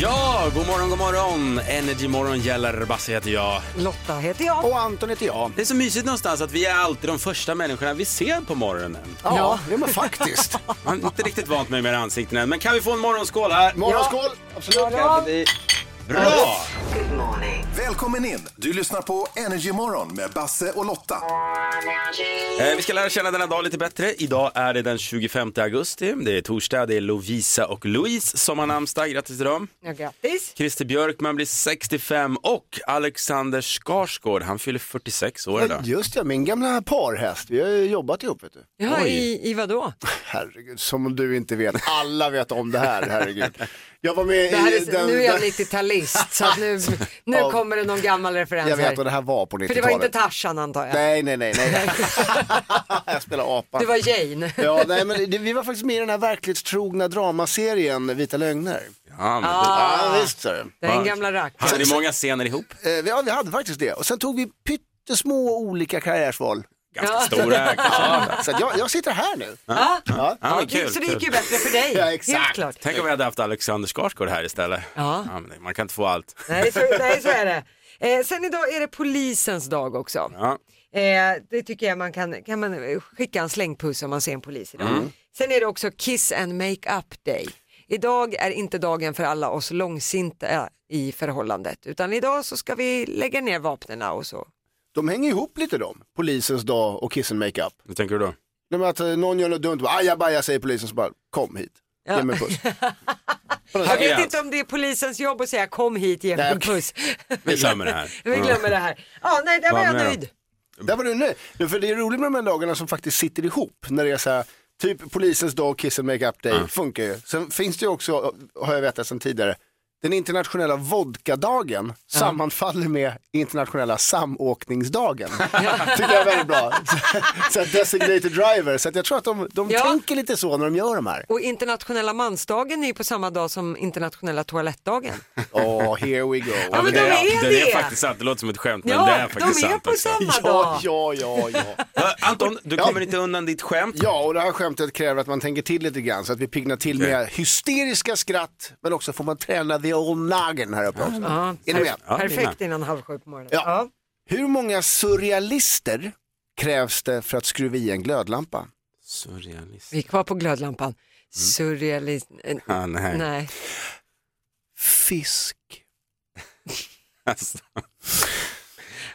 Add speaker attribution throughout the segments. Speaker 1: Ja, god morgon, god morgon! Energymorgon gäller, Basse heter jag.
Speaker 2: Lotta heter jag.
Speaker 3: Och Anton heter jag.
Speaker 1: Det är så mysigt någonstans att vi är alltid de första människorna vi ser på morgonen.
Speaker 3: Ja, ja men faktiskt.
Speaker 1: Man har inte riktigt vant mig med era ansikten än, men kan vi få en morgonskål här?
Speaker 3: Morgonskål! Absolut.
Speaker 1: Bra!
Speaker 4: Välkommen in! Du lyssnar på Energy Morgon med Basse och Lotta.
Speaker 1: Eh, vi ska lära känna denna dag lite bättre. Idag är det den 25 augusti, det är torsdag, det är Lovisa och Louise som har namnsdag. Grattis till dem!
Speaker 2: Ja, grattis.
Speaker 1: Christer Björkman blir 65 och Alexander Skarsgård, han fyller 46 år idag.
Speaker 3: Just det, min gamla parhäst. Vi har ju jobbat ihop vet du.
Speaker 2: Ja,
Speaker 1: Oj.
Speaker 2: i, i vadå?
Speaker 3: Herregud, som du inte vet. Alla vet om det här, herregud. Jag var med
Speaker 2: Det här
Speaker 3: i
Speaker 2: är,
Speaker 3: den...
Speaker 2: nu är jag
Speaker 3: den-
Speaker 2: 90-talist så att nu, nu
Speaker 3: Ja.
Speaker 2: kommer det någon gammal referens
Speaker 3: jag vet
Speaker 2: här.
Speaker 3: vad det här var på 90-talet.
Speaker 2: För det var inte Tarzan antar jag.
Speaker 3: Nej, nej, nej. nej. jag spelar apa.
Speaker 2: Det var Jane.
Speaker 3: Ja, nej, men det, vi var faktiskt med i den här verklighetstrogna dramaserien Vita lögner.
Speaker 1: Ja, men-
Speaker 2: Ah.
Speaker 3: Ja, visst ser du.
Speaker 2: Den gamla rackaren.
Speaker 1: Hade ni många scener ihop?
Speaker 3: Eh, vi- Ja, vi hade faktiskt det. Och sen tog vi pyttesmå olika karriärsval.
Speaker 1: Ganska
Speaker 2: Ja.
Speaker 1: stora kanske.
Speaker 2: Ah.
Speaker 3: Så att jag, jag sitter här nu.
Speaker 2: Ja.
Speaker 3: Ja.
Speaker 1: Ja, men
Speaker 2: Det-
Speaker 1: kul,
Speaker 2: så det
Speaker 1: kul.
Speaker 2: gick ju bättre för dig.
Speaker 3: Ja, exakt.
Speaker 2: Helt klart.
Speaker 1: Tänk om vi hade haft Alexander Skarsgård här istället.
Speaker 2: Ja.
Speaker 1: men det- man kan inte få allt.
Speaker 2: Nej så, nej, så är det. Eh, sen idag är det polisens dag också.
Speaker 1: Ja.
Speaker 2: Eh, det tycker jag man kan, kan man skicka en slängpuss om man ser en polis idag.
Speaker 1: Mm.
Speaker 2: Sen är det också kiss and make up day. Idag är inte dagen för alla oss långsinta i förhållandet utan idag så ska vi lägga ner vapnen och så.
Speaker 3: De hänger ihop lite de, polisens dag och kissen makeup.
Speaker 1: Hur tänker du då?
Speaker 3: Nej, men att eh, någon gör något dumt, bara, ajabaja säger polisen, så bara kom hit,
Speaker 2: Ja.
Speaker 3: ge mig en puss.
Speaker 2: Jag vet
Speaker 1: Agent.
Speaker 2: inte om det är polisens jobb att säga kom hit, ge mig
Speaker 3: Nej,
Speaker 2: en puss.
Speaker 1: Vi glömmer det här.
Speaker 2: Vi glömmer det här. Ja, nej, där var
Speaker 1: Vad
Speaker 2: jag
Speaker 1: med då?
Speaker 2: nöjd.
Speaker 3: Där var du nöjd. Nu, För det är roligt med de här dagarna som faktiskt sitter ihop, när det är så här, typ polisens dag och kissen makeup day funkar ju. Sen finns det ju också, har jag vetat sedan tidigare, den internationella vodkadagen sammanfaller med internationella samåkningsdagen. Tycker jag är väldigt bra. Så, så att designated driver, så att jag tror att de, de
Speaker 2: Ja.
Speaker 3: tänker lite så när de gör de här.
Speaker 2: Och internationella mansdagen är ju på samma dag som internationella toalettdagen.
Speaker 3: Oh, here we go.
Speaker 2: Ja, men de är
Speaker 1: det.
Speaker 2: det.
Speaker 1: är faktiskt sant, det låter som ett skämt men det är
Speaker 2: Ja, de
Speaker 1: faktiskt
Speaker 2: är
Speaker 1: sant. alltså.
Speaker 2: på
Speaker 1: också.
Speaker 2: samma
Speaker 3: Ja,
Speaker 2: dag.
Speaker 3: ja, ja, ja.
Speaker 1: Ja, Anton, du kommer inte undan ditt skämt.
Speaker 3: Ja, och det här skämtet kräver att man tänker till lite grann så att vi piggnar till med hysteriska skratt men också får man träna the old nagen här uppe också.
Speaker 2: Ja,
Speaker 3: Är ni med?
Speaker 1: Ja,
Speaker 2: perfekt innan halv sju på morgonen.
Speaker 3: Ja. Hur många surrealister krävs det för att skruva i en glödlampa?
Speaker 1: Surrealist.
Speaker 2: Vi är kvar på glödlampan. Surrealist... eh,
Speaker 1: Ah, nej.
Speaker 2: Nej.
Speaker 3: Fisk.
Speaker 1: Alltså.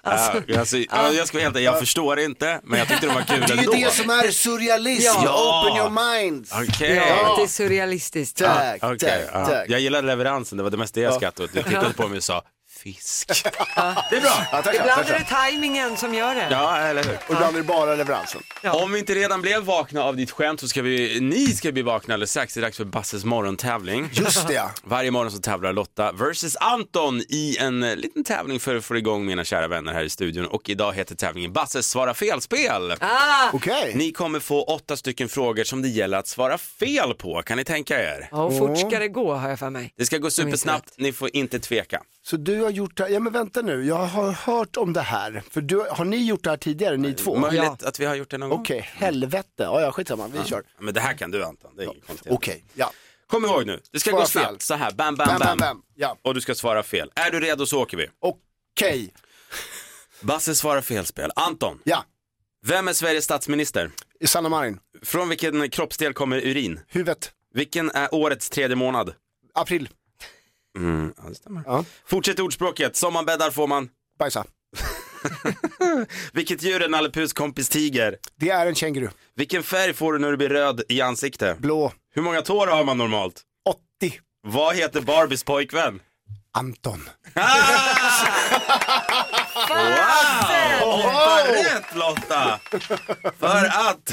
Speaker 1: Ja, alltså, ja, jag ska vara helt ärlig, jag förstår inte men jag tyckte det var kul
Speaker 3: Det är ju
Speaker 1: ändå.
Speaker 3: det som är surrealism.
Speaker 1: Ja.
Speaker 3: Open your minds.
Speaker 1: Okej.
Speaker 2: Ja, det är surrealistiskt.
Speaker 3: Tack,
Speaker 1: Ja, okej,
Speaker 3: tack,
Speaker 1: ja.
Speaker 3: tack.
Speaker 1: Jag gillade leveransen, det var det mesta jag skrattade åt. Du tittade på mig och sa fisk. Det är bra.
Speaker 3: Ja, tack, så, tack,
Speaker 2: Ibland
Speaker 3: så.
Speaker 2: är det tajmingen som gör det.
Speaker 1: Ja, eller hur?
Speaker 3: Och ibland är det bara leveransen.
Speaker 1: Om vi inte redan blev vakna av ditt skämt så ska vi, ni ska bli vakna alldeles strax. Det är dags för Basses morgontävling.
Speaker 3: Just det ja.
Speaker 1: Varje morgon så tävlar Lotta versus Anton i en eh, liten tävling för att få igång mina kära vänner här i studion. Och idag heter tävlingen Basses svara fel-spel.
Speaker 2: Ah,
Speaker 3: Okej.
Speaker 1: Ni kommer få åtta stycken frågor som det gäller att svara fel på. Kan ni tänka er?
Speaker 2: ja, och fort ska det gå har jag för mig.
Speaker 1: Det ska gå
Speaker 2: inte
Speaker 1: supersnabbt, ni får inte tveka.
Speaker 3: Så du har gjort det här, ja men vänta nu, jag har hört om det här. För du, har ni gjort det här tidigare, ni två?
Speaker 1: Möjligt att vi har gjort det någon
Speaker 3: Okej, helvete. Ja, ja, skitsamma, vi kör.
Speaker 1: gång. Men det här kan du Anton, det är inget konstigt.
Speaker 3: Okej, ja.
Speaker 1: Kom ihåg nu, det ska
Speaker 3: Svara
Speaker 1: gå snabbt.
Speaker 3: fel.
Speaker 1: Så här, bam bam,
Speaker 3: Bam,
Speaker 1: bam,
Speaker 3: bam, bam. Ja,
Speaker 1: Och du ska svara fel. Är du redo så åker vi.
Speaker 3: okej.
Speaker 1: Basse svarar fel spel. Anton,
Speaker 3: Ja,
Speaker 1: vem är Sveriges statsminister?
Speaker 3: Sanna Marin.
Speaker 1: Från vilken kroppsdel kommer urin?
Speaker 3: Huvudet.
Speaker 1: Vilken är årets tredje månad?
Speaker 3: April.
Speaker 1: Mm, ja, det stämmer.
Speaker 3: Ja.
Speaker 1: Fortsätt ordspråket, som man bäddar får man.
Speaker 3: Bajsa.
Speaker 1: Vilket djur är Nalle Puhs kompis tiger?
Speaker 3: Det är en känguru.
Speaker 1: Vilken färg får du när du blir röd i ansikte?
Speaker 3: Blå.
Speaker 1: Hur många tår har man normalt?
Speaker 3: 80.
Speaker 1: Vad heter Barbies pojkvän?
Speaker 3: Anton.
Speaker 1: Åtta rätt Lotta! För att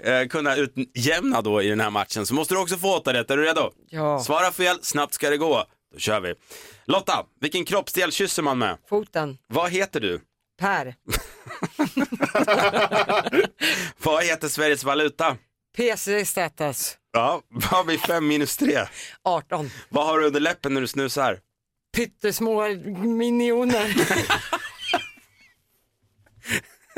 Speaker 1: eh, kunna utjämna då i den här matchen så måste du också få åtta rätt. Är du redo?
Speaker 2: Ja.
Speaker 1: Svara fel, snabbt ska det gå. Då kör vi. Lotta, vilken kroppsdel kysser man med?
Speaker 2: Foten.
Speaker 1: Vad heter du?
Speaker 2: Per.
Speaker 1: Vad heter Sveriges valuta?
Speaker 2: PC status
Speaker 1: Ja, vad blir 5 minus 3?
Speaker 2: 18.
Speaker 1: Vad har du under läppen när du snusar?
Speaker 2: Pyttesmå minioner.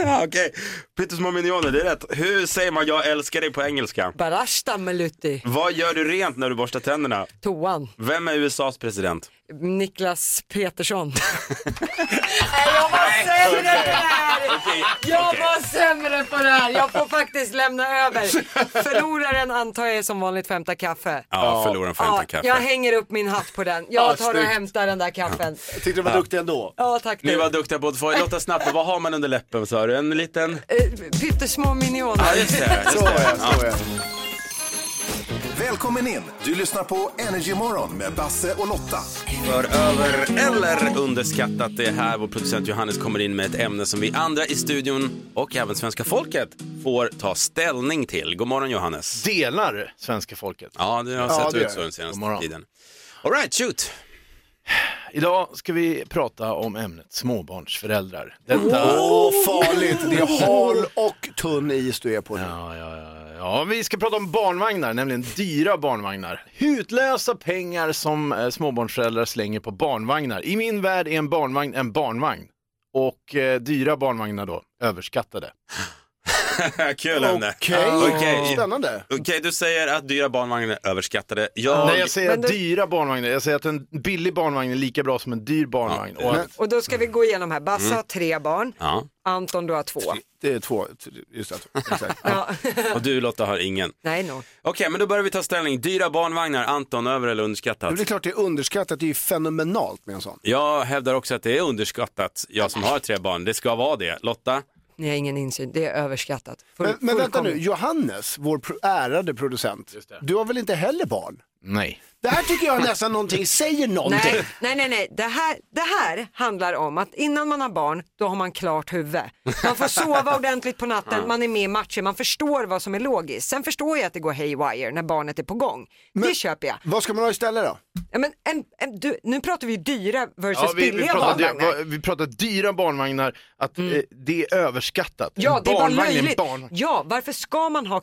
Speaker 1: Ja, Okej, pyttesmå minioner, det är rätt. Hur säger man jag älskar dig på engelska?
Speaker 2: Barashta Meluti.
Speaker 1: Vad gör du rent när du borstar tänderna?
Speaker 2: Toan.
Speaker 1: Vem är USAs president?
Speaker 2: Niklas Petersson. Nej, jag var sämre på det här! Jag var sämre på det här! Jag får faktiskt lämna över. Förloraren antar jag är som vanligt får hämta kaffe.
Speaker 1: Ja, förloraren får hämta kaffe.
Speaker 2: jag hänger upp min hatt på den. Jag tar och
Speaker 3: snyggt.
Speaker 2: hämtar den där kaffen.
Speaker 3: Jag tyckte du var duktig ändå.
Speaker 2: Ja, tack
Speaker 1: Ni
Speaker 2: du.
Speaker 1: var duktiga på att få låta snabbt. Vad har man under läppen sa du? En liten?
Speaker 2: Eh, Pyttesmå minioner.
Speaker 1: Ja, just det. Just
Speaker 3: Så
Speaker 1: det.
Speaker 3: är det, så är det.
Speaker 4: Välkommen in! Du lyssnar på Energy Morgon med Basse och Lotta.
Speaker 1: För över eller underskattat, det är här vår producent Johannes kommer in med ett ämne som vi andra i studion och även svenska folket får ta ställning till. God morgon Johannes.
Speaker 5: delar svenska folket.
Speaker 1: Ja, det har
Speaker 3: Ja,
Speaker 1: sett
Speaker 3: det
Speaker 1: ut
Speaker 3: gör
Speaker 1: så
Speaker 3: det.
Speaker 1: den senaste
Speaker 5: God morgon.
Speaker 1: tiden. All right, shoot.
Speaker 5: Idag ska vi prata om ämnet småbarnsföräldrar.
Speaker 2: Oh!
Speaker 5: Detta...
Speaker 3: Åh, farligt. Det är hal och tunn is du är på nu.
Speaker 5: Ja, ja, ja, ja, vi ska prata om barnvagnar, nämligen dyra barnvagnar. Hutlösa pengar som eh, småbarnsföräldrar slänger på barnvagnar. I min värld är en barnvagn en barnvagn. Och eh, dyra barnvagnar då, överskattade.
Speaker 1: Kul ämne.
Speaker 3: Okej,
Speaker 1: Okej.
Speaker 3: spännande.
Speaker 1: Okej, du säger att dyra barnvagnar är överskattade. Jag...
Speaker 5: Nej, jag säger
Speaker 2: Men det-
Speaker 5: dyra barnvagnar. Jag säger att en billig barnvagn är lika bra som en dyr barnvagn.
Speaker 1: Ja,
Speaker 5: och
Speaker 3: men-
Speaker 5: att...
Speaker 2: Och då ska vi gå igenom här. Basse
Speaker 1: Mm.
Speaker 2: har tre barn.
Speaker 1: Ja.
Speaker 2: Anton, du har två.
Speaker 3: Det är två, just det. Exakt.
Speaker 2: Ja.
Speaker 1: Och du Lotta har ingen.
Speaker 2: Nej, no.
Speaker 1: Okej, men då börjar vi ta ställning. Dyra barnvagnar, Anton, över eller underskattat?
Speaker 3: Men Det är klart det är underskattat, det är ju fenomenalt med en sån.
Speaker 1: Jag hävdar också att det är underskattat, jag som har tre barn. Det ska vara det. Lotta?
Speaker 2: Ni har ingen insyn. Det är överskattat. Full,
Speaker 3: Men, men vänta nu,
Speaker 2: fullkomligt.
Speaker 3: Johannes, vår pro- ärade producent, du har väl inte heller barn?
Speaker 5: Nej.
Speaker 3: Det här tycker jag nästan någonting säger någonting.
Speaker 2: Nej, nej, nej, nej. Det, här, det här handlar om att innan man har barn, då har man klart huvud. Man får sova ordentligt på natten, man är med i matcher, man förstår vad som är logiskt. Sen förstår jag att det går haywire när barnet är på gång. det köper jag.
Speaker 3: Vad ska man ha istället då?
Speaker 2: Ja, men en, en, du, nu pratar vi ju dyra versus
Speaker 5: Ja, vi, vi,
Speaker 2: billiga
Speaker 5: pratar, dy-
Speaker 2: barnvagnar. Mm.
Speaker 5: va- vi pratar dyra barnvagnar, att eh, det är överskattat.
Speaker 2: Ja,
Speaker 5: En
Speaker 2: det är bara
Speaker 5: barnvagn är en
Speaker 2: löjligt.
Speaker 5: barnvagn.
Speaker 2: Ja, varför ska man ha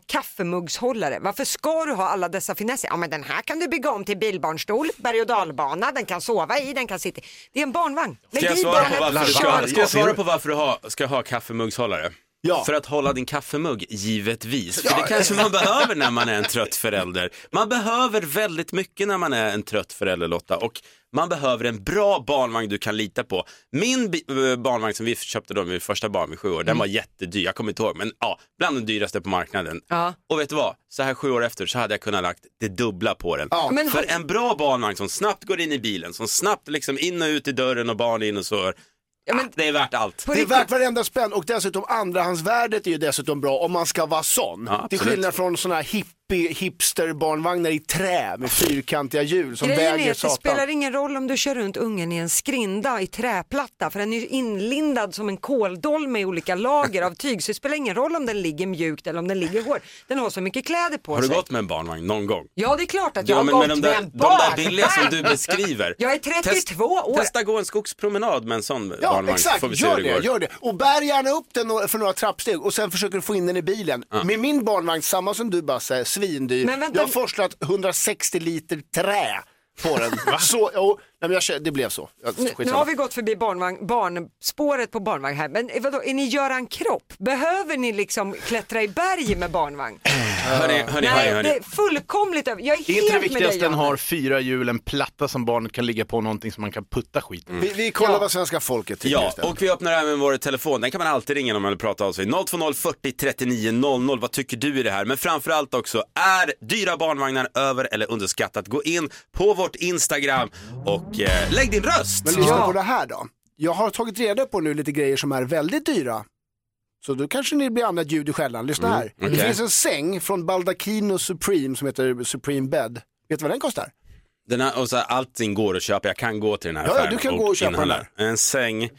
Speaker 2: kaffemuggshållare? Varför ska du ha alla dessa finesser? Ja, men den här kan du bygga om till bilbarnstol, berg och dalbana, den kan sova i, den kan sitta i. Det är en barnvagn. Lägg
Speaker 1: Ska jag
Speaker 2: i
Speaker 1: svara på
Speaker 2: barnet,
Speaker 1: varför du
Speaker 2: kör.
Speaker 1: ska, ska, jag svara
Speaker 5: Larvar.
Speaker 1: på varför du ha, ska ha kaffemuggshållare?
Speaker 3: Ja.
Speaker 1: För att hålla din kaffemugg, givetvis. För det kanske man behöver när man är en trött förälder. Man behöver väldigt mycket när man är en trött förälder Lotta. Och man behöver en bra barnvagn du kan lita på. Min bi- eh, barnvagn som vi köpte då, min första barn vid sju år, den var jättedyr. Jag kommer inte ihåg, men ja, bland de dyraste på marknaden.
Speaker 2: Ja.
Speaker 1: Och vet du vad? Så här sju år efter så hade jag kunnat lagt det dubbla på den.
Speaker 2: Men
Speaker 1: För en bra barnvagn som snabbt går in i bilen, som snabbt liksom in och ut i dörren och barn in och så. ah, det är värt allt.
Speaker 2: På
Speaker 3: Det är
Speaker 2: riktigt.
Speaker 3: värt varenda spänn och dessutom andrahandsvärdet är ju dessutom bra om man ska vara sån.
Speaker 1: Ja,
Speaker 3: Till
Speaker 1: absolut.
Speaker 3: skillnad från såna här hippie, hipsterbarnvagnar i trä med fyrkantiga hjul som
Speaker 2: Grejen är
Speaker 3: väger
Speaker 2: att det spelar
Speaker 3: satan.
Speaker 2: ingen roll om du kör runt ungen i en skrinda i träplatta för den är ju inlindad som en kåldolme i olika lager av tyg så det spelar ingen roll om den ligger mjukt eller om den ligger hård. Den har så mycket kläder på
Speaker 1: Har du
Speaker 2: sig.
Speaker 1: gått med en barnvagn någon gång?
Speaker 2: Ja det är klart att jag
Speaker 1: men
Speaker 2: har
Speaker 1: med
Speaker 2: gått
Speaker 1: de
Speaker 2: med,
Speaker 1: där,
Speaker 2: en
Speaker 1: de
Speaker 2: barn.
Speaker 1: där billiga som du beskriver.
Speaker 2: Jag är 32 år.
Speaker 1: Testa gå en skogspromenad med en sån
Speaker 3: Ja
Speaker 1: barnvagn.
Speaker 3: exakt,
Speaker 1: Får vi se
Speaker 3: gör
Speaker 1: hur
Speaker 3: det,
Speaker 1: det, går.
Speaker 3: gör det. Och bär gärna upp den några- för några trappsteg och sen försöker du få in den i bilen. Med min barnvagn, samma som du Basse, svindyr.
Speaker 2: Men vänta-
Speaker 3: Jag har forslat 160 liter trä på den. så, jo, nej, men jag, känner- det blev så. Jag,
Speaker 2: Nu, nu
Speaker 3: skitsamma.
Speaker 2: har vi gått förbi barnvagn, barnspåret på barnvagn här, men eh, vadå, är ni Göran Kropp? Behöver ni liksom klättra i berg med barnvagn?
Speaker 1: Hörni, hörni, hörni,
Speaker 2: Nej,
Speaker 1: hörni.
Speaker 2: det är fullkomligt över. Jag är
Speaker 5: Det är inte det
Speaker 2: helt med dig
Speaker 5: viktigaste, den
Speaker 2: Johannes.
Speaker 5: har fyra hjul, en platta som barnet kan ligga på, någonting som man kan putta skiten i.
Speaker 3: vi, vi kollar vad svenska folket tycker
Speaker 1: Ja,
Speaker 3: istället.
Speaker 1: och vi öppnar även vår telefon. Den kan man alltid ringa om man vill prata av sig. 020 40 39 00. Vad tycker du i det här? Men framförallt också, är dyra barnvagnar över eller underskattat? Gå in på vårt Instagram och eh, lägg din röst.
Speaker 3: Men lyssna
Speaker 2: Ja.
Speaker 3: på det här då. Jag har tagit reda på nu lite grejer som är väldigt dyra. Så då kanske det blir annat ljud i skällan. Lyssna här. Det
Speaker 1: Mm, okej.
Speaker 3: finns en säng från Baldacchino Supreme som heter Supreme Bed. Vet du vad den kostar?
Speaker 1: Den här, och så här, allting går att köpa, jag kan gå till den här
Speaker 3: Ja, ja,
Speaker 1: affären
Speaker 3: du kan gå och köpa den
Speaker 1: inhandla. En säng,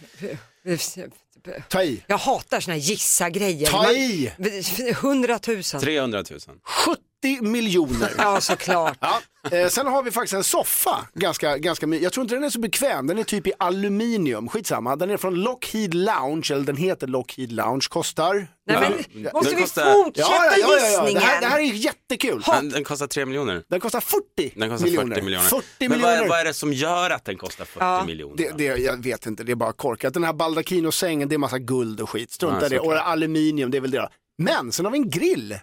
Speaker 3: Ta i.
Speaker 2: Jag hatar såna här gissa grejer.
Speaker 3: Ta i!
Speaker 2: 100 000.
Speaker 1: 300 000.
Speaker 2: 70
Speaker 3: miljoner.
Speaker 2: Ja, såklart.
Speaker 3: Ja. Eh, sen har vi faktiskt en soffa, ganska, ganska my- jag tror inte den är så bekväm, den är typ i aluminium, skitsamma. Den är från Lockheed Lounge, eller den heter Lockheed Lounge, kostar...
Speaker 2: Nej,
Speaker 1: Ja.
Speaker 2: men, måste
Speaker 1: Den
Speaker 2: vi
Speaker 1: kostar-
Speaker 2: fortsätta
Speaker 3: Det,
Speaker 2: gissningen?
Speaker 3: här, det här är jättekul.
Speaker 1: Den, den kostar 3 miljoner.
Speaker 3: Den kostar 40
Speaker 1: Den kostar
Speaker 3: miljoner.
Speaker 1: 40 miljoner.
Speaker 3: 40
Speaker 1: men Vad,
Speaker 3: miljoner.
Speaker 1: är, vad är det som gör att den kostar 40 miljoner?
Speaker 3: Det, det, jag vet inte, det är bara korkat. Den här Baldacchino-sängen, det är massa guld och skit. Strunta
Speaker 1: Ja,
Speaker 3: i det.
Speaker 1: såklart.
Speaker 3: Och aluminium, det är väl det då. Men sen har vi en grill.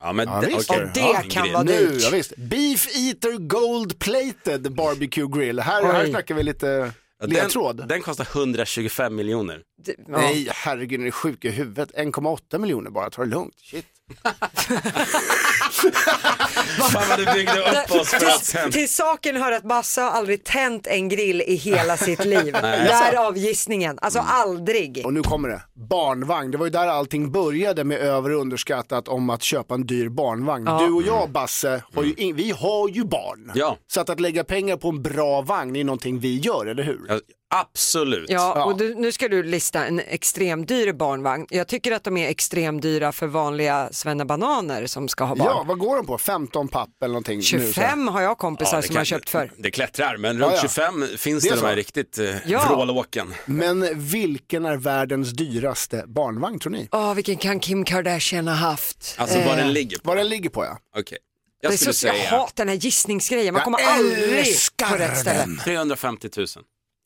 Speaker 1: Ja, men
Speaker 3: Ja,
Speaker 1: det,
Speaker 3: visst.
Speaker 1: okej.
Speaker 2: Och det
Speaker 1: Ja,
Speaker 2: kan
Speaker 1: grej.
Speaker 2: vara- Vad
Speaker 3: nu,
Speaker 2: dyrt.
Speaker 3: ja, visst. Beef Eater Gold Plated Barbecue Grill. Här, här
Speaker 2: Oj.
Speaker 3: snackar vi lite
Speaker 1: Ja,
Speaker 3: ledtråd.
Speaker 1: Den, den kostar 125 miljoner.
Speaker 2: Det- ja.
Speaker 3: Nej, herregud, är ni sjuka i huvudet? 1,8 miljoner bara, ta det lugnt. Shit.
Speaker 1: Fan vad du byggde upp oss för att sen...
Speaker 2: Till, till saken hör att Bassa har aldrig tänt en grill i hela sitt liv. Därav gissningen. Alltså aldrig.
Speaker 3: Mm. Och nu kommer det. Barnvagn, det var ju där allting började med över och underskattat om att köpa en dyr barnvagn. Du och jag Basse, har ju in, vi har ju barn.
Speaker 1: Ja.
Speaker 3: Så att, att lägga pengar på en bra vagn är någonting vi gör, eller hur?
Speaker 1: Ja, absolut.
Speaker 2: Ja, och du, nu ska du lista en extremt dyr barnvagn. Jag tycker att de är extremt dyra för vanliga svennebananer som ska ha barn.
Speaker 3: Ja, vad går de på? 15 papp eller någonting? Nu, så här.
Speaker 2: 25 har jag
Speaker 1: Ja,
Speaker 2: kompisar
Speaker 1: det
Speaker 2: som
Speaker 1: kan-
Speaker 2: har köpt för.
Speaker 1: Det klättrar, men runt
Speaker 3: Ja, ja.
Speaker 1: 25 finns
Speaker 3: Det
Speaker 1: det,
Speaker 3: är
Speaker 1: de här
Speaker 3: så.
Speaker 1: riktigt eh,
Speaker 2: Ja.
Speaker 1: vrålåken.
Speaker 3: Men vilken är världens dyraste barnvagn tror ni?
Speaker 2: Åh, vilken kan Kim Kardashian ha haft?
Speaker 1: Alltså vad den ligger på.
Speaker 3: Vad den ligger på ja.
Speaker 1: Okej,
Speaker 2: Eh. Det
Speaker 1: jag
Speaker 2: är
Speaker 1: skulle
Speaker 2: så, jag
Speaker 1: säga
Speaker 2: hatar den här gissningsgrejen, man
Speaker 3: Jag
Speaker 2: kommer aldrig
Speaker 3: älskar
Speaker 2: på rätt ställe.
Speaker 3: den.
Speaker 1: 350 000.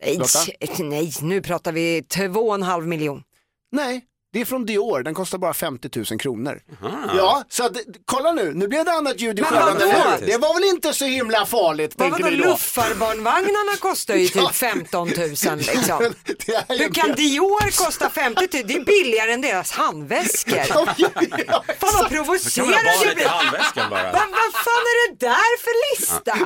Speaker 2: Nej, eh,
Speaker 3: Lotta?
Speaker 2: nej, nu pratar vi två och en halv miljon.
Speaker 3: Nej, det är från Dior, den kostar bara 50 000 kronor. Ja, så att, kolla nu, nu blev det annat ljud i
Speaker 2: Men
Speaker 3: skällan.
Speaker 2: vadå?
Speaker 3: eller hur? Det var väl inte så himla farligt
Speaker 2: Vad
Speaker 3: tänker
Speaker 2: vadå,
Speaker 3: ni då?
Speaker 2: luffarbarnvagnarna kostar ju typ 15 000 liksom.
Speaker 3: Det är ju
Speaker 2: Hur kan
Speaker 3: det-
Speaker 2: Dior kosta 50 000? Det är billigare än deras handväskor.
Speaker 3: Ja, ja,
Speaker 2: Fan vad
Speaker 1: Kan man ha
Speaker 2: provocerad jag
Speaker 1: barnet i
Speaker 2: blir.
Speaker 1: handväskan bara?
Speaker 2: Vad, vad fan är det där för lista?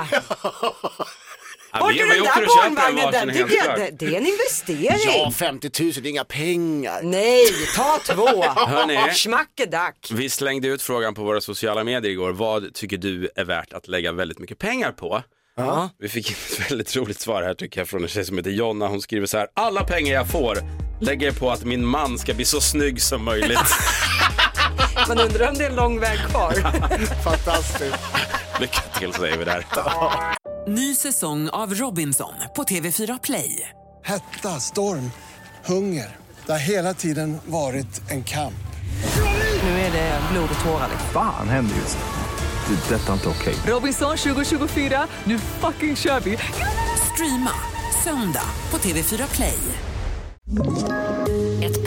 Speaker 1: Ja,
Speaker 2: Vart
Speaker 1: vi,
Speaker 2: är
Speaker 1: vi
Speaker 2: den
Speaker 1: åker
Speaker 2: där
Speaker 1: och köper en
Speaker 2: barnvagnen?
Speaker 1: varsin
Speaker 2: Den
Speaker 1: helt
Speaker 2: tycker jag,
Speaker 1: klart.
Speaker 2: det, det är en investering.
Speaker 3: ja, 50 000 det är inga pengar.
Speaker 2: Nej, ta två.
Speaker 1: Hörni.
Speaker 2: Schmackedack.
Speaker 1: Vi slängde ut frågan på våra sociala medier igår. Vad tycker du är värt att lägga väldigt mycket pengar på? Vi fick in ett väldigt roligt svar här tycker jag från en tjej som heter Jonna. Hon skriver så här. Alla pengar jag får lägger jag på att min man ska bli så snygg som möjligt.
Speaker 2: Man undrar om det är en lång väg kvar.
Speaker 3: Fantastiskt.
Speaker 1: Lycka till säger vi där.
Speaker 6: Ny säsong av Robinson på TV4 Play.
Speaker 7: Hetta, storm, hunger. Det har hela tiden varit en kamp.
Speaker 6: Nu är det blod och tårar. liksom.
Speaker 8: Fan händer just det. Det är detta inte okej.
Speaker 6: Robinson 2024, nu fucking kör vi! Streama söndag på TV4 Play.
Speaker 9: Ett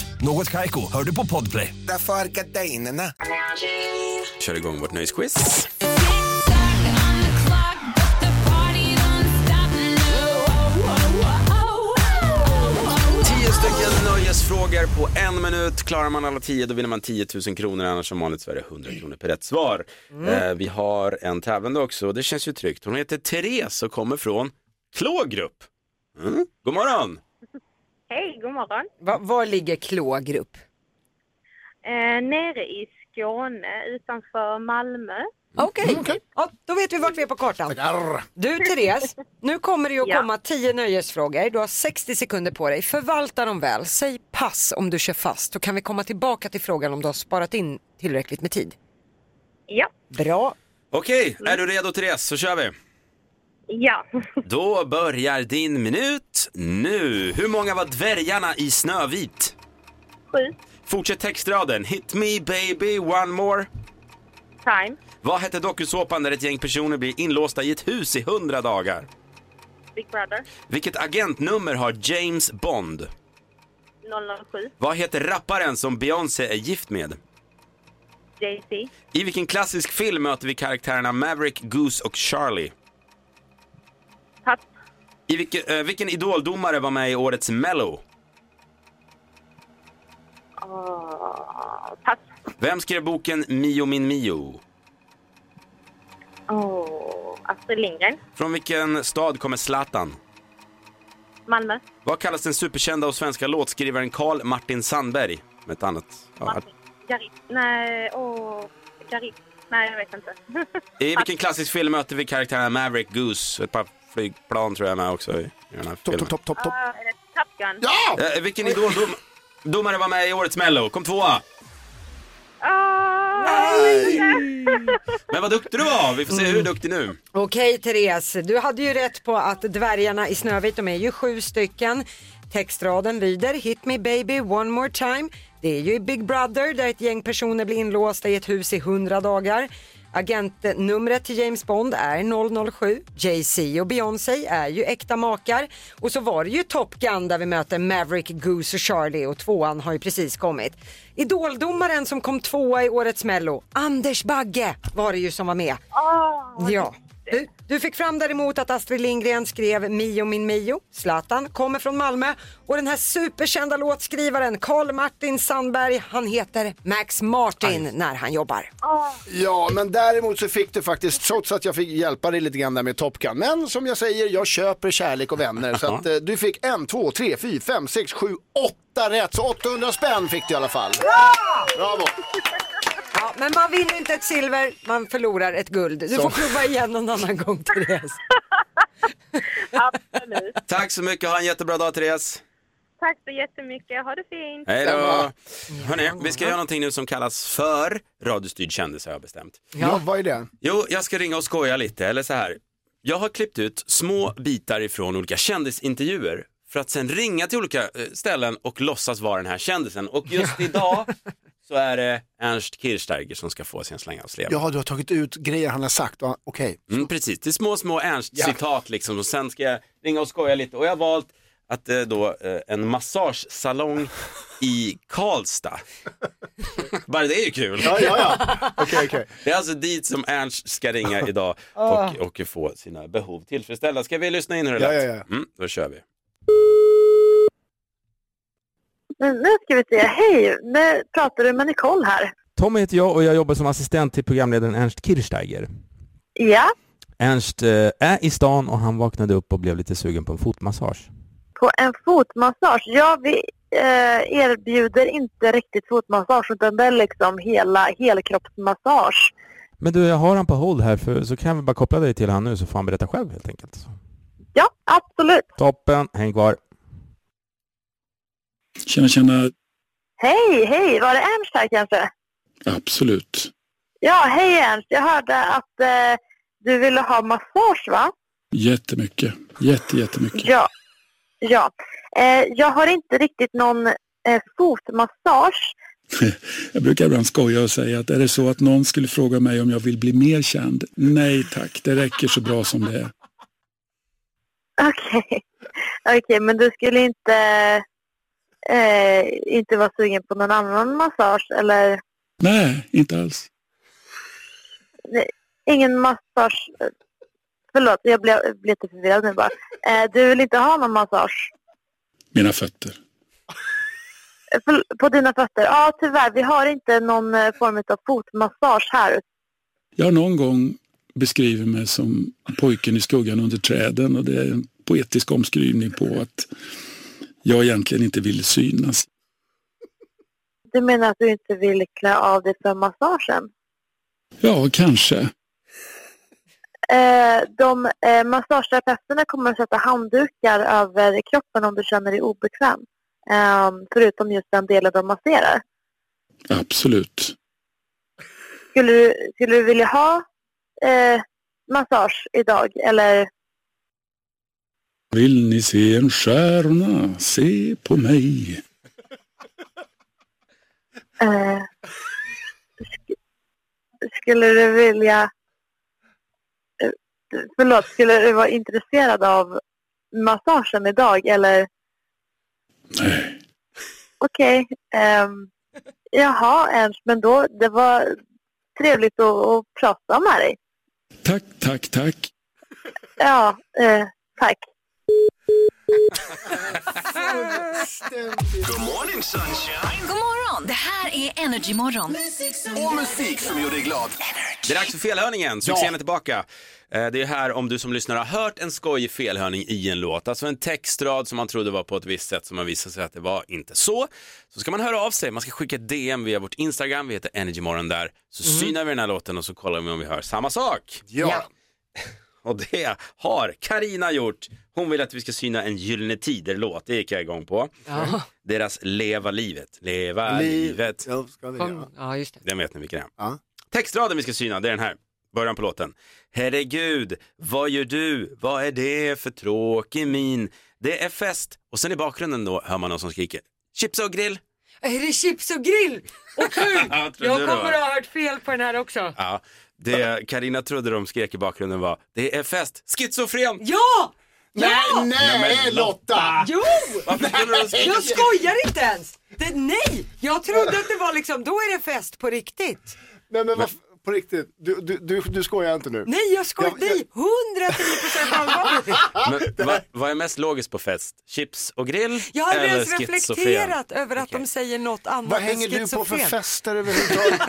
Speaker 10: Något Kaiko, hör du på Podplay.
Speaker 11: Därför är gardinerna.
Speaker 1: Kör igång vårt nöjesquiz. Tio stycken nöjesfrågor på en minut. Klarar man alla tio då vinner man 10 000 kronor. Annars som vanligt så är det 100 kronor per rätt svar. Eh, vi har en tävlande också och det känns ju tryggt. Hon heter Therese och kommer från Klågrupp. Mm. God morgon!
Speaker 12: Hej, god morgon.
Speaker 2: Va, var ligger Klågrupp?
Speaker 12: Eh, nere i Skåne utanför Malmö.
Speaker 2: Mm, Okej, ja, då vet vi vart vi är på kartan.
Speaker 3: Arr.
Speaker 2: Du Therese, nu kommer det ju att
Speaker 12: Ja.
Speaker 2: komma 10 nöjesfrågor. Du har 60 sekunder på dig. Förvalta dem väl. Säg pass om du kör fast. Då kan vi komma tillbaka till frågan om du har sparat in tillräckligt med tid.
Speaker 12: Ja,
Speaker 2: Bra.
Speaker 1: Okej, är du redo Therese så kör vi.
Speaker 12: ja.
Speaker 1: Då börjar din minut nu. Hur många var dvärgarna i Snövit?
Speaker 12: Sju,
Speaker 1: Fortsätt textraden. Hit me baby one more.
Speaker 12: time,
Speaker 1: Vad hette dokusåpan där ett gäng personer blir inlåsta i ett hus i hundra dagar?
Speaker 12: Big Brother,
Speaker 1: Vilket agentnummer har James Bond?
Speaker 12: 007,
Speaker 1: Vad heter rapparen som Beyoncé är gift med?
Speaker 12: JC,
Speaker 1: I vilken klassisk film möter vi karaktärerna Maverick, Goose och Charlie?
Speaker 12: Papp,
Speaker 1: I vilken, eh, vilken idoldomare var med i årets Mello?
Speaker 12: oh, pass,
Speaker 1: Vem skrev boken Mio min Mio?
Speaker 12: ah,
Speaker 5: Åh, Astrid Lindgren.
Speaker 1: Från vilken stad kommer Zlatan?
Speaker 5: Malmö.
Speaker 1: Vad kallas den superkända och svenska låtskrivaren Carl Martin Sandberg? Med ett annat... Ja.
Speaker 5: Martin. Garip. Nej, åh. Garip. Nej, jag vet inte.
Speaker 1: I vilken klassisk film möter vi karaktären Maverick Goose? Ett par flygplan tror jag är med också i i den här filmen.
Speaker 5: Ah, är det Top Gun?
Speaker 1: Eh, vilken idoldomare domare var med i årets Mello? Kom tvåa.
Speaker 5: Ah,
Speaker 1: Men vad duktig du var! Vi får se hur duktig nu.
Speaker 2: Okej Therese, du hade ju rätt på att dvärgarna i Snövit, de är ju sju stycken. Textraden lyder Hit me baby one more time. Det är ju i Big Brother där ett gäng personer blir inlåsta i ett hus i 100 dagar. Agentnumret till James Bond är 007. Jay-Z och Beyoncé är ju äkta makar. Och så var det ju Top Gun där vi möter Maverick, Goose och Charlie och tvåan har ju precis kommit. Idoldomaren som kom tvåa i årets Mello, Anders Bagge var det ju som var med. Ja. Du, du fick fram däremot att Astrid Lindgren skrev Mio min Mio. Zlatan kommer från Malmö och den här superkända låtskrivaren Carl Martin Sandberg, han heter Max Martin när han jobbar.
Speaker 3: Ja, men däremot så fick du faktiskt, trots att jag fick hjälpa dig lite grann där med Top Gun. Men som jag säger, jag köper kärlek och vänner. Så att, eh, du fick en, två, tre, fyra, fem, sex, sju, åtta rätt. Så 800 spänn fick du i alla fall. Bravo!
Speaker 2: Ja, men man vinner inte ett silver, man förlorar ett guld. Du
Speaker 3: Så.
Speaker 2: får prova igen någon annan gång Therese.
Speaker 1: Tack så mycket, ha en jättebra dag Therese.
Speaker 5: Tack så jättemycket. Ha det fint.
Speaker 1: Hej då! Hörni, vi ska göra någonting nu som kallas för radiostyrd kändis har jag bestämt.
Speaker 3: Ja, vad är det?
Speaker 1: Jo, jag ska ringa och skoja lite, eller så här. Jag har klippt ut små bitar ifrån olika kändisintervjuer för att sen ringa till olika eh, ställen och låtsas vara den här kändisen. Och just idag så är det Ernst Kirchsteiger som ska få sin släng av sleven.
Speaker 3: Ja, du har tagit ut grejer han har sagt. Ja, Okej.
Speaker 1: Mm, precis, det är små, små Ernst-citat liksom och sen ska jag ringa och skoja lite och jag har valt att eh, då eh, en massagesalong i Karlstad. Bara det är ju kul.
Speaker 3: Ja, ja, ja. Okej, okej.
Speaker 1: Det är alltså dit som Ernst ska ringa idag och, och få sina behov tillfredsställda. Ska vi lyssna in hur det
Speaker 3: Ah. Ja,
Speaker 1: lät?
Speaker 3: ja,
Speaker 1: Mm, då kör vi.
Speaker 5: Men nu ska vi se. Hej, nu pratar du med Nicole här.
Speaker 10: Tommy heter jag och jag jobbar som assistent till programledaren Ernst Kirchsteiger.
Speaker 5: Ja,
Speaker 10: Ernst eh, är i stan och han vaknade upp och blev lite sugen på en fotmassage.
Speaker 5: på en fotmassage. Ja, vi eh, erbjuder inte riktigt fotmassage utan det är liksom hela helkroppsmassage.
Speaker 10: Men du, jag har han på hold här för, så kan vi bara koppla dig till han nu så får han berätta själv helt enkelt.
Speaker 5: Ja, absolut.
Speaker 10: Toppen, häng kvar.
Speaker 11: Tjena, tjena.
Speaker 5: Hej, hej, var det Ernst här kanske?
Speaker 11: Absolut.
Speaker 5: Ja, hej Ernst. Jag hörde att eh, du ville ha massage va?
Speaker 11: Jättemycket. Jätte, jättemycket.
Speaker 5: Ja. ja. Eh, jag har inte riktigt någon eh, fotmassage.
Speaker 11: Jag brukar ibland skoja och säga att är det så att någon skulle fråga mig om jag vill bli mer känd? Nej tack, det räcker så bra som det är.
Speaker 5: Okej, Okej, men du skulle inte, eh, inte vara sugen på någon annan massage eller
Speaker 11: Nej, inte alls.
Speaker 5: nej, ingen massage? Förlåt, jag blev, blev lite förvirrad nu bara. Eh, du vill inte ha någon massage?
Speaker 11: Mina fötter.
Speaker 5: Eh, förl- På dina fötter? Ja, tyvärr. Vi har inte någon eh, form av fotmassage här.
Speaker 11: Jag har någon gång beskrivit mig som pojken i skuggan under träden och det är en poetisk omskrivning på att jag egentligen inte ville synas.
Speaker 5: Du menar att du inte vill klä av dig för massagen?
Speaker 11: Ja, kanske.
Speaker 5: Eh, de eh, massageterapeuterna kommer att sätta handdukar över kroppen om du känner dig obekväm. Ehm, förutom just den delen de masserar.
Speaker 11: Absolut.
Speaker 5: Skulle du, skulle du vilja ha eh, massage idag? Eller
Speaker 11: Vill ni se en stjärna? Se på mig.
Speaker 5: eh, sk- skulle du vilja... eh, Förlåt, skulle du vara intresserad av massagen idag? Eller? Nej. Okej. ehm, jaha, Ernst, men då, det var trevligt att, att prata med dig.
Speaker 11: Tack, tack, tack.
Speaker 5: Ja, eh, tack.
Speaker 4: Good morning sunshine!
Speaker 13: God morgon! Det här är Energymorgon.
Speaker 4: Och musik som gör dig glad.
Speaker 1: Det är dags för felhörningen, succén är tillbaka. Eh, Det är här om du som lyssnar har hört en skojig felhörning i en låt, alltså en textrad som man trodde var på ett visst sätt som man visade sig att det var inte så. Så ska man höra av sig, man ska skicka ett DM via vårt Instagram, vi heter Energymorgon där, så
Speaker 3: Mhm.
Speaker 1: synar vi den här låten och så kollar vi om vi hör samma sak.
Speaker 3: Ja.
Speaker 1: Och det har Karina gjort. Hon vill att vi ska syna en Gyllene Tider-låt, det gick jag igång på.
Speaker 2: Ja.
Speaker 1: Deras Leva livet, leva
Speaker 3: Liv-
Speaker 1: livet.
Speaker 2: Kom. Ja, just det.
Speaker 1: Den vet ni vilken det är. Textraden vi ska syna, det är den här. Början på låten. Herregud, vad gör du? Vad är det för tråkig min? Det är fest. Och sen i bakgrunden då hör man någon som skriker chips och grill.
Speaker 2: Är det chips och grill? Och kul!
Speaker 1: Ja, trodde
Speaker 2: Jag
Speaker 1: du det
Speaker 2: kommer
Speaker 1: var.
Speaker 2: att ha hört fel på den här också.
Speaker 1: Ja, det Karina trodde de skrek i bakgrunden var det är fest. Schizofren!
Speaker 2: Ja!
Speaker 3: Nej,
Speaker 2: ja!
Speaker 3: nej,
Speaker 1: men
Speaker 3: Lotta!
Speaker 2: Jo!
Speaker 1: Varför kunde de skrika?
Speaker 2: Jag skojar inte ens! Det, nej! Jag trodde att det var liksom, då är det fest på riktigt.
Speaker 3: Nej men varf- på riktigt, du, du, du, du skojar inte nu?
Speaker 2: Nej, jag skojar. Nej, 110% allvar.
Speaker 1: Men, va, vad är mest logiskt på fest? Chips och grill
Speaker 2: Jag har inte
Speaker 1: eller
Speaker 2: ens
Speaker 1: schizofren?
Speaker 2: reflekterat över att de säger något annat
Speaker 3: Vad
Speaker 2: än
Speaker 3: hänger du på för
Speaker 2: schizofren.
Speaker 3: fester överhuvudtaget?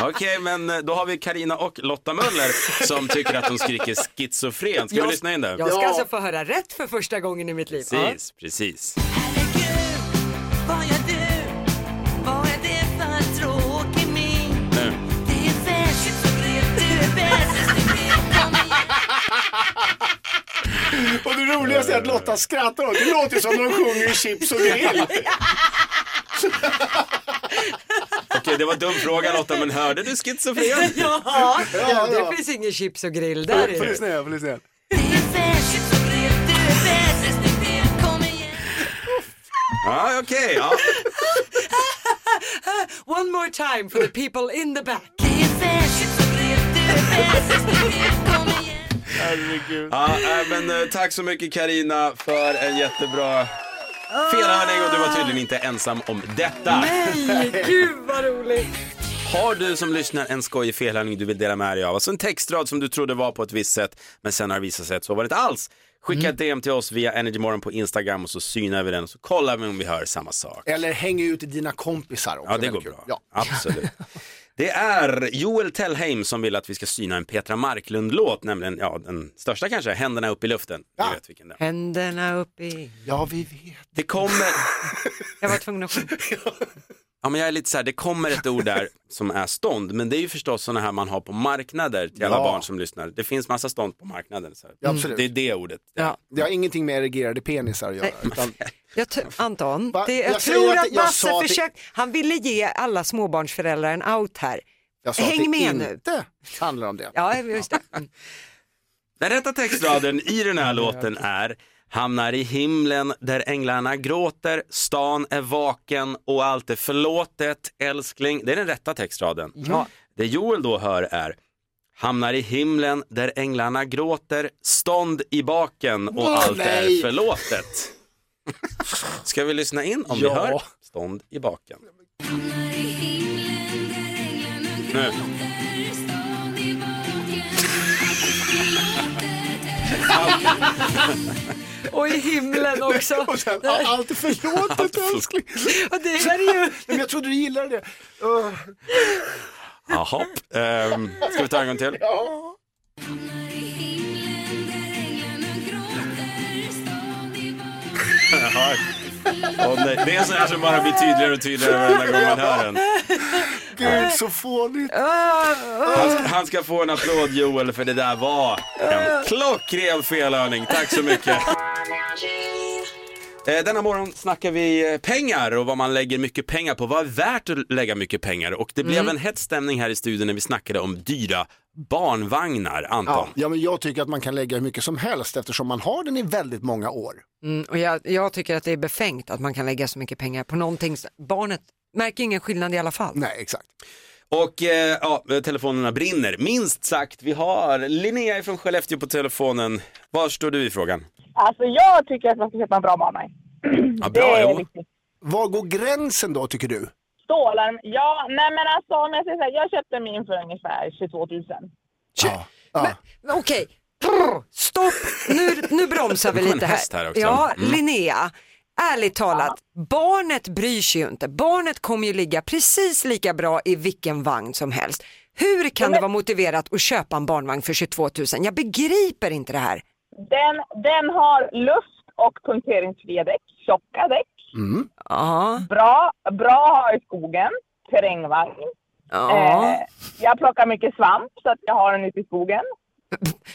Speaker 1: Okej, men eh, då har vi Karina och Lotta Möller som tycker att de skriker schizofren. Ska vi
Speaker 2: Jag-
Speaker 1: lyssna in det?
Speaker 2: Jag ska alltså få höra rätt för första gången i mitt liv.
Speaker 1: Precis, precis.
Speaker 13: Vad gör du? Vad är det för tråkig min?
Speaker 1: Nu.
Speaker 13: Det är fest. Du är bäst.
Speaker 3: Och det roligaste är att Lotta skrattar åt det. Det låter som de sjunger i chips och grill.
Speaker 1: Okej, det var en dum fråga Lotta, men hörde du schizofren?
Speaker 2: Ja, ja, det finns ingen chips och grill där
Speaker 3: Får
Speaker 2: inne.
Speaker 3: lyssna igen, får lyssna igen.
Speaker 1: Ja, okej. ja.
Speaker 2: One more time for the people in the back.
Speaker 1: Ja, äh, men, eh, tack så mycket Karina för en jättebra felhörning och du var tydligen inte ensam om detta.
Speaker 2: Ah. Nej, gud vad roligt.
Speaker 1: Har du som lyssnar en skojig felhörning du vill dela med dig av, alltså en textrad som du trodde var på ett visst sätt men sen har det visat sig att så var det inte alls. Skicka
Speaker 3: Mm.
Speaker 1: ett DM till oss via Energymorgon på Instagram och så synar vi den och så kollar vi om vi hör samma sak.
Speaker 3: Eller häng ut dina kompisar också.
Speaker 1: Ja, det går
Speaker 3: Väldigt
Speaker 1: bra.
Speaker 3: kul. Ja.
Speaker 1: Absolut. Det är Joel Tellheim som vill att vi ska syna en Petra Marklund-låt, nämligen ja, den största kanske, Händerna upp i luften. Ja. Vet vilken det är.
Speaker 2: Händerna upp i...
Speaker 3: Ja, vi vet.
Speaker 1: Det kommer,
Speaker 2: Jag var tvungen att sjunga.
Speaker 1: ja, men jag är lite så här, det kommer ett ord där som är stånd, men det är ju förstås sådana här man har på marknader till alla
Speaker 3: Ja.
Speaker 1: barn som lyssnar. Det finns massa stånd på marknaden. Så här.
Speaker 3: Ja, absolut.
Speaker 1: Det är det ordet.
Speaker 2: Ja.
Speaker 3: Det har ingenting med erigerade penisar att göra.
Speaker 2: Nej.
Speaker 3: Utan,
Speaker 2: Jag t- Anton,
Speaker 3: Va?
Speaker 2: det, jag,
Speaker 3: Jag säger
Speaker 2: tror
Speaker 3: att
Speaker 2: att,
Speaker 3: det- jag
Speaker 2: Basse
Speaker 3: sa att det-
Speaker 2: försökte, han ville ge alla småbarnsföräldrar en out här.
Speaker 3: jag sa att
Speaker 2: Häng
Speaker 3: det
Speaker 2: med nu.
Speaker 3: inte handlar om det.
Speaker 2: Ja, just det. Mm.
Speaker 1: Den rätta textraden i den här låten är Hamnar i himlen där änglarna gråter, stan är vaken och allt är förlåtet, älskling. Det är den rätta textraden.
Speaker 2: Ja.
Speaker 1: Det Joel då hör är Hamnar i himlen där änglarna gråter, stånd i baken och
Speaker 3: Åh,
Speaker 1: allt
Speaker 3: nej.
Speaker 1: är förlåtet. Ska vi lyssna in om vi
Speaker 3: Ja.
Speaker 1: hör stånd i baken? Nu.
Speaker 2: Och i himlen också.
Speaker 3: Och sen, ja, allt är förlåtet älskling.
Speaker 2: Och det här är ju...
Speaker 3: Men jag trodde du gillade det. Uh,
Speaker 1: Jaha, ehm, ska vi ta en gång till?
Speaker 3: ja.
Speaker 1: Jaha. Åh, nej. Det är så här som bara blir tydligare och tydligare varenda gång man hör den.
Speaker 3: Gud så fånigt.
Speaker 1: Han ska, han ska få en applåd Joel för det där var en klockren felhörning. Tack så mycket. Eh, Denna morgon snackar vi eh, pengar och vad man lägger mycket pengar på. Vad är värt att lägga mycket pengar? Och det blev en hett stämning här i studion när vi snackade om dyra barnvagnar, Anton.
Speaker 3: Ja. ja, men jag tycker att man kan lägga hur mycket som helst eftersom man har den i väldigt många år.
Speaker 2: Mm, och jag, jag tycker att det är befängt att man kan lägga så mycket pengar på någonting. s- Barnet märker ingen skillnad i alla fall.
Speaker 3: Nej, exakt.
Speaker 1: Och eh, ja, telefonerna brinner, minst sagt. Vi har Linnea från Skellefteå på telefonen. Var står du i frågan?
Speaker 14: Alltså jag tycker att man ska köpa en bra barnvagn.
Speaker 1: Ja,
Speaker 14: det
Speaker 1: bra,
Speaker 14: är
Speaker 1: jo.
Speaker 14: viktigt.
Speaker 3: Var går gränsen då tycker du?
Speaker 14: Stålarm. Ja, nej men alltså om jag säger så här, jag köpte min för ungefär 22 000.
Speaker 3: Ja. Ja.
Speaker 2: Men Okej, Brr, Stopp, nu, nu bromsar vi
Speaker 1: Det kom en
Speaker 2: lite
Speaker 1: häst här
Speaker 2: här.
Speaker 1: också.
Speaker 2: Ja,
Speaker 1: Mm.
Speaker 2: Linnea, ärligt talat, barnet bryr sig ju inte. Barnet kommer ju ligga precis lika bra i vilken vagn som helst. Hur kan det vara motiverat att köpa en barnvagn för 22 000? Jag begriper inte det här.
Speaker 14: Den, den har luft och punkteringsfria däck, tjocka däck. Bra, bra att ha i skogen, terrängvagn.
Speaker 2: Ja.
Speaker 14: Eh, jag plockar mycket svamp så att jag har den ute i skogen.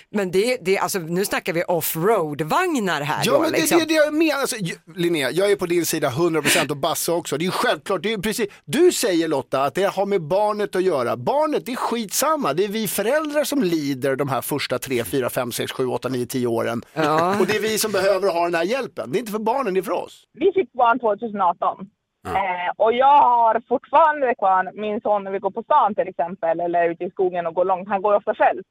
Speaker 2: Men det, det, alltså, nu snackar vi offroad-vagnar här
Speaker 3: Ja
Speaker 2: då,
Speaker 3: men det,
Speaker 2: liksom.
Speaker 3: det är det jag menar. Alltså, ju- Linnea, jag är på din sida 100% och Basse också. Det är ju självklart, det är ju precis, du säger Lotta att det har med barnet att göra. Barnet, det är skitsamma. Det är vi föräldrar som lider de här första 3, 4, 5, 6, 7, 8, 9, 10 åren.
Speaker 2: Ja.
Speaker 3: Och det är vi som behöver ha den här hjälpen. Det är inte för barnen, det är för oss.
Speaker 14: Vi fick barn 2018. Eh, och jag har fortfarande kvar min son när vi går på stan till exempel eller ute i skogen och går långt. Han går ofta själv.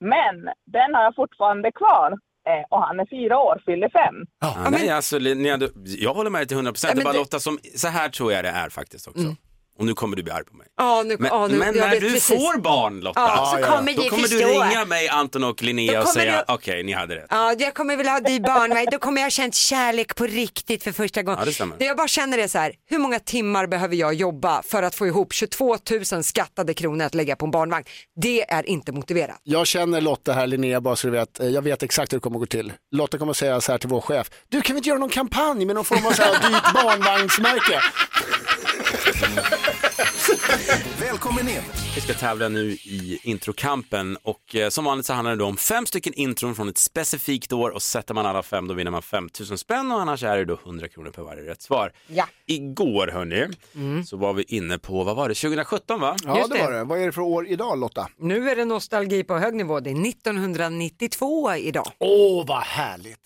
Speaker 14: Men den har jag fortfarande kvar eh, och han är fyra år, fyller fem.
Speaker 1: Ja, nej, alltså, Linnea, du, jag håller med dig till 100
Speaker 14: Ja,
Speaker 1: procent.
Speaker 14: men
Speaker 1: Det är bara
Speaker 14: det-
Speaker 1: Lotta som, så här tror jag det är faktiskt också. Och nu kommer du bli arg på mig.
Speaker 2: Mm. Ja, nu,
Speaker 1: Men,
Speaker 2: ja, nu,
Speaker 1: men
Speaker 2: jag
Speaker 1: när
Speaker 2: vet
Speaker 1: du
Speaker 2: precis.
Speaker 1: får barn Lotta,
Speaker 2: Ja, så kommer
Speaker 1: då
Speaker 2: vi
Speaker 1: kommer du
Speaker 2: förstå.
Speaker 1: ringa mig Anton och Linnea och
Speaker 2: kommer
Speaker 1: säga okej, ni hade rätt.
Speaker 2: Ja, jag kommer vilja ha dig barnvakt. Då kommer jag ha känt kärlek på riktigt för första gången.
Speaker 1: Ja, det stämmer.
Speaker 2: jag bara känner det så här, hur många timmar behöver jag jobba för att få ihop 22 000 skattade kronor att lägga på en barnvagn? Det är inte motiverat.
Speaker 3: Jag känner Lotta här, Linnea, bara så du vet. Eh, Jag vet exakt hur det kommer att gå till. Lotta kommer att säga så här till vår chef. Du, kan vi inte göra någon kampanj med någon form av så här dyrt barnvagnsmärke?
Speaker 4: Välkommen in!
Speaker 1: Vi ska tävla nu i introkampen och eh, som vanligt så handlar det då om fem stycken intron från ett specifikt år och sätter man alla fem då vinner man 5000 spänn och annars är det då 100 kronor per varje rätt svar.
Speaker 2: Ja. Mm.
Speaker 1: Igår hörni, så var vi inne på, vad var det, 2017 va?
Speaker 3: Ja, det var det. Vad är det för år idag, Lotta?
Speaker 2: Nu är det nostalgi på hög nivå. Det är 1992 idag.
Speaker 3: Åh, vad härligt.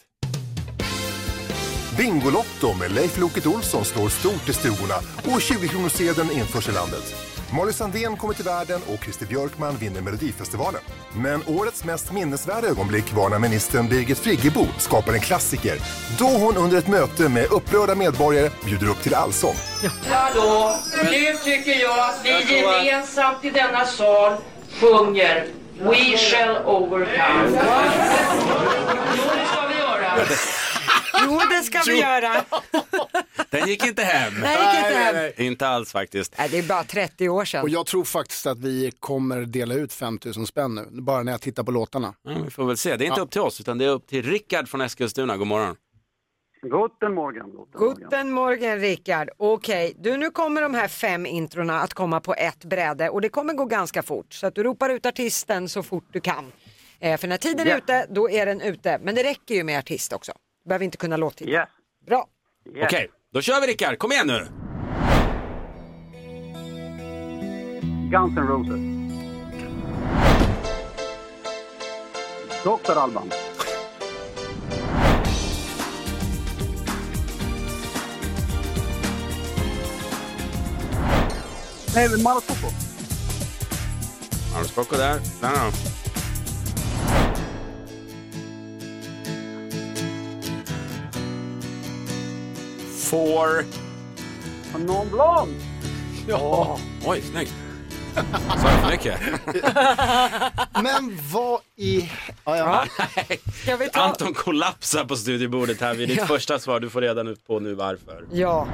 Speaker 4: Bingolotto med Leif Loket Olsson slår stort i stugorna och 20-kronorssedeln införs i landet. Molly Sandén kommer till världen och Christer Björkman vinner Melodifestivalen. Men årets mest minnesvärda ögonblick var när ministern Birgit Friggebo skapar en klassiker då hon under ett möte med upprörda medborgare bjuder upp till allsång.
Speaker 13: Hallå, nu tycker jag att vi gemensamt i denna sal sjunger We shall overcome. Jo, det ska vi göra.
Speaker 2: Jo, det ska vi göra.
Speaker 1: Den gick inte hem.
Speaker 2: Nej, det gick inte hem.
Speaker 1: Inte alls faktiskt.
Speaker 2: Nej, det är bara 30 år sedan.
Speaker 3: Och jag tror faktiskt att vi kommer dela ut 5000 spänn nu, bara när jag tittar på låtarna.
Speaker 1: Ja, vi får väl se, det är inte
Speaker 3: Ja.
Speaker 1: upp till oss utan det är upp till Rickard från Eskilstuna, god morgon.
Speaker 15: Guten Morgen.
Speaker 2: Guten morgen Rickard. Okej, du nu kommer de här fem introna att komma på ett bräde och det kommer gå ganska fort så att du ropar ut artisten så fort du kan. Eh, för när tiden är
Speaker 15: Ja.
Speaker 2: ute, då är den ute. Men det räcker ju med artist också. Du behöver inte kunna låttiteln.
Speaker 15: Yes.
Speaker 2: Bra.
Speaker 1: Okej, då kör vi Rickard, kom igen nu.
Speaker 15: Guns N' Roses. Dr. Alban. Nej, men Mauro Scocco.
Speaker 1: Anders Kocko där. Nej, nej. Four.
Speaker 15: Någon Blanc.
Speaker 1: Ja. Oj, snyggt. Sa jag för mycket?
Speaker 3: Men vad i... Ja, ja.
Speaker 1: Anton kollapsar på studiebordet här vid ditt
Speaker 2: Ja.
Speaker 1: första svar. Du får reda ut på nu varför.
Speaker 2: Ja.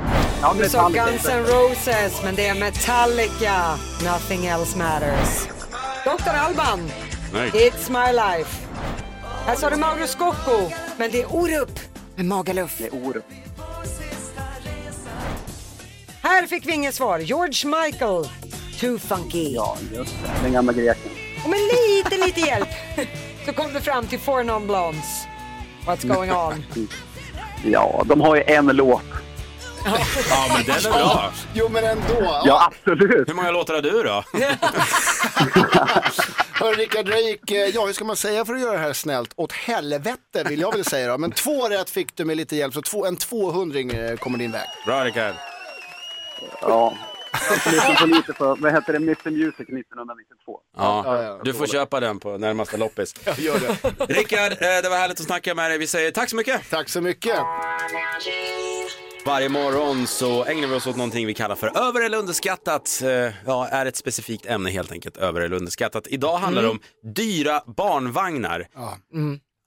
Speaker 2: du sa Guns N' Roses, men det är Metallica. Nothing else matters. Dr. Alban.
Speaker 1: Nej.
Speaker 2: It's my life. Här sa du Mauro Scocco, men det är Orup med Magaluf. Det
Speaker 15: är Orup.
Speaker 2: Här fick vi inget svar. George Michael, Too Funky. Ja,
Speaker 15: Just det, den gamla greken.
Speaker 2: Och med lite, lite hjälp så kom du fram till Four Non Blondes. What's going on?
Speaker 15: Ja, de har ju en låt.
Speaker 1: Ja, men den är bra.
Speaker 3: Jo, men ändå.
Speaker 15: Ja, absolut.
Speaker 1: Hur många låtar har du då?
Speaker 3: Hörru Rickard Reik, eh, ja hur ska man säga för att göra det här snällt? Åt helvete vill jag väl säga då. Men två rätt fick du med lite hjälp, så två, en 200 eh, kommer din väg.
Speaker 1: Bra Rickard.
Speaker 15: Ja. Jag lyssnade på lite på, vad heter det, Mr Music 1992.
Speaker 1: Ja, du får köpa den på närmaste loppis.
Speaker 3: Jag gör det.
Speaker 1: Rickard, eh, det var härligt att snacka med dig. Vi säger tack så mycket.
Speaker 3: Tack så mycket.
Speaker 1: Varje morgon så ägnar vi oss åt någonting vi kallar för över eller underskattat. Eh, Ja, är ett specifikt ämne helt enkelt, över eller underskattat. Idag handlar det
Speaker 3: Mm.
Speaker 1: om dyra barnvagnar.
Speaker 3: Ja.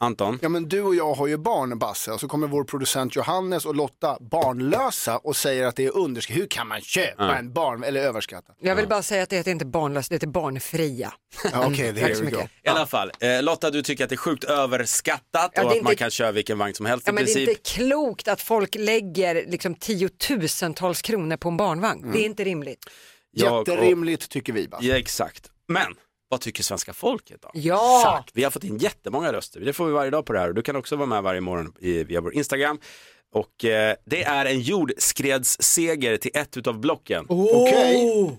Speaker 1: Anton?
Speaker 3: Ja men du och jag har ju barn Basse och så kommer vår producent Johannes och Lotta barnlösa och säger att det är underskattat. Hur kan man köpa
Speaker 2: Ja.
Speaker 3: en barn eller överskattat?
Speaker 2: Jag vill bara säga att det heter inte barnlöst, det heter barnfria. Tack så mycket.
Speaker 1: I alla fall, eh, Lotta du tycker att det är sjukt överskattat
Speaker 2: Ja, det
Speaker 1: och
Speaker 2: är
Speaker 1: att man
Speaker 2: inte-
Speaker 1: kan köra vilken vagn som helst
Speaker 2: Ja,
Speaker 1: i
Speaker 2: men det är
Speaker 1: princip.
Speaker 2: inte klokt att folk lägger liksom tiotusentals kronor på en barnvagn.
Speaker 1: Mm.
Speaker 2: Det är inte rimligt.
Speaker 1: Jag och-
Speaker 3: Jätterimligt tycker vi Basse.
Speaker 1: Ja, exakt. Men vad tycker svenska folket då?
Speaker 2: Ja! Exakt.
Speaker 1: Vi har fått in jättemånga röster. Det får vi varje dag på det här och du kan också vara med varje morgon i, via vår Instagram. Och eh, det är en jordskredsseger till ett utav blocken.
Speaker 2: Oh.
Speaker 3: Oh.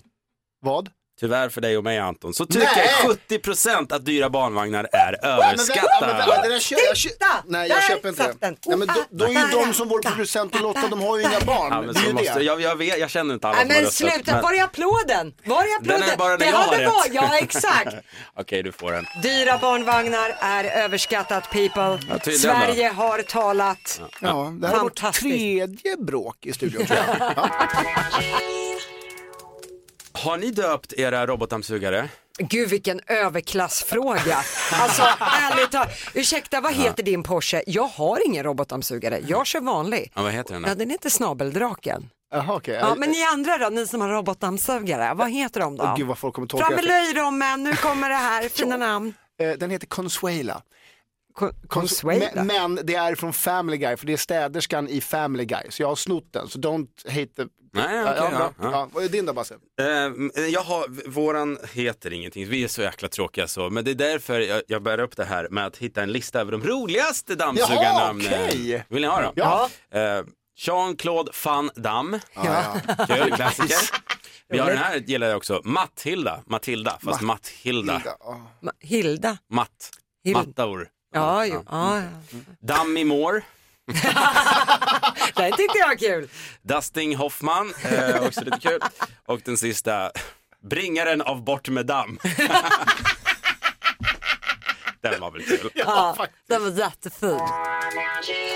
Speaker 3: Vad?
Speaker 1: Tyvärr för dig och mig Anton, så
Speaker 3: Nej!
Speaker 1: tycker 70% att dyra barnvagnar är
Speaker 3: Ja, men vänta, det där
Speaker 1: överskattade.
Speaker 3: kö- jag kö- Nej jag
Speaker 2: Där
Speaker 3: köper inte
Speaker 2: satt den.
Speaker 3: det. Nej, men då, då är ju de som vår producent och Lotta, de har ju inga
Speaker 1: Ja,
Speaker 3: barn.
Speaker 1: men
Speaker 3: det är
Speaker 1: så
Speaker 3: ju
Speaker 1: måste,
Speaker 3: det.
Speaker 1: jag, jag, vet, jag känner inte alla
Speaker 2: Nej
Speaker 1: som har
Speaker 2: men
Speaker 1: röstat,
Speaker 2: sluta, var är applåden? Var är applåden?
Speaker 1: Den är bara när
Speaker 2: det
Speaker 1: jag har
Speaker 2: hade
Speaker 1: rätt.
Speaker 2: varit- Ja exakt.
Speaker 1: Okej, du får den.
Speaker 2: Dyra barnvagnar är överskattat people.
Speaker 1: Ja, tydligen
Speaker 2: Sverige har talat.
Speaker 3: Ja, det här är vårt
Speaker 2: Fantastiskt.
Speaker 3: tredje bråk i studion tror jag.
Speaker 1: Har ni döpt era robotdammsugare?
Speaker 2: Gud vilken överklassfråga. Alltså ärligt talat, ursäkta vad heter din Porsche? Jag har ingen robotdammsugare, jag kör vanlig.
Speaker 1: Ja, vad heter den då?
Speaker 2: Ja, den heter snabeldraken.
Speaker 3: Jaha okej.
Speaker 2: Ja, men ni andra då, ni som har robotdammsugare, vad heter de då?
Speaker 3: Åh, gud vad folk kommer tolka
Speaker 2: Fram med
Speaker 3: efter.
Speaker 2: löjrommen, nu kommer det här, fina namn.
Speaker 3: Eh, Den heter Consuela.
Speaker 2: Consuela?
Speaker 3: Men, men det är från Family Guy, för det är städerskan i Family Guy. Så jag har snott den, så don't hate the...
Speaker 1: Nej,
Speaker 3: ja,
Speaker 1: okej,
Speaker 3: ja, bra.
Speaker 1: ja, ja.
Speaker 3: Ja, vad är din då Basse?
Speaker 1: Eh, jag har, v- våran heter ingenting, vi är så jäkla tråkiga så, men det är därför jag, jag bär upp det här med att hitta en lista över de roligaste dammsugarnamnen.
Speaker 3: Jaha, okej.
Speaker 1: Vill ni ha dem?
Speaker 3: Ja.
Speaker 1: Eh, Jean-Claude van Damme, kul klassiker. Vi har den här, gillar jag också, Matthilda, Matilda, fast Matthilda.
Speaker 2: Ma- Hilda.
Speaker 1: Matt,
Speaker 2: Hild-
Speaker 1: Mattaur.
Speaker 2: Ja, jo. ja.
Speaker 1: Dummy Moore,
Speaker 2: Den tyckte jag var kul.
Speaker 1: Dustin Hoffman, eh, också lite kul. Och den sista, Bringaren av Bort med damm. den var väl kul.
Speaker 2: Ja, den var jättefin.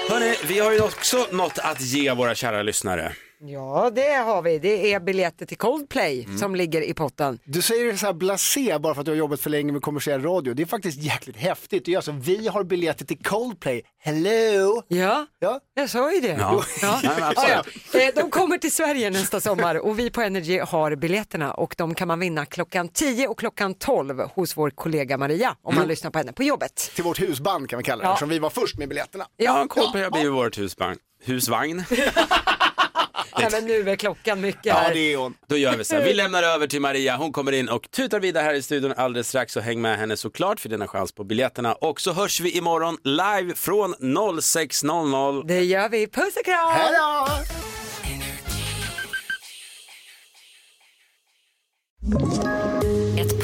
Speaker 1: Hörni, vi har ju också något att ge våra kära lyssnare.
Speaker 2: Ja, det har vi. Det är biljetter till Coldplay som ligger i potten.
Speaker 3: Du säger det så här blasé bara för att du har jobbat för länge med kommersiell radio. Det är faktiskt jäkligt häftigt. Det är alltså, vi har biljetter till Coldplay. Hello!
Speaker 2: Ja,
Speaker 3: ja.
Speaker 2: jag sa ju det.
Speaker 3: Ja.
Speaker 2: Ja. Ja, ja. Eh, De kommer till Sverige nästa sommar och vi på Energy har biljetterna och de kan man vinna klockan 10 och klockan 12 hos vår kollega Maria om man lyssnar på henne på jobbet.
Speaker 3: Till vårt husband kan vi kalla det,
Speaker 2: Ja.
Speaker 3: som vi var först med biljetterna.
Speaker 1: Ja, Coldplay har blivit vårt husvagn. husvagn.
Speaker 2: Nej, men nu är klockan mycket här.
Speaker 1: Då gör vi så här. Vi lämnar över till Maria. Hon kommer in och tutar vidare här i studion alldeles strax. Och häng med henne såklart för dina chans på biljetterna. Och så hörs vi imorgon live från 06.00.
Speaker 2: Det gör vi. Puss och kram!
Speaker 3: Hej då!
Speaker 10: Ett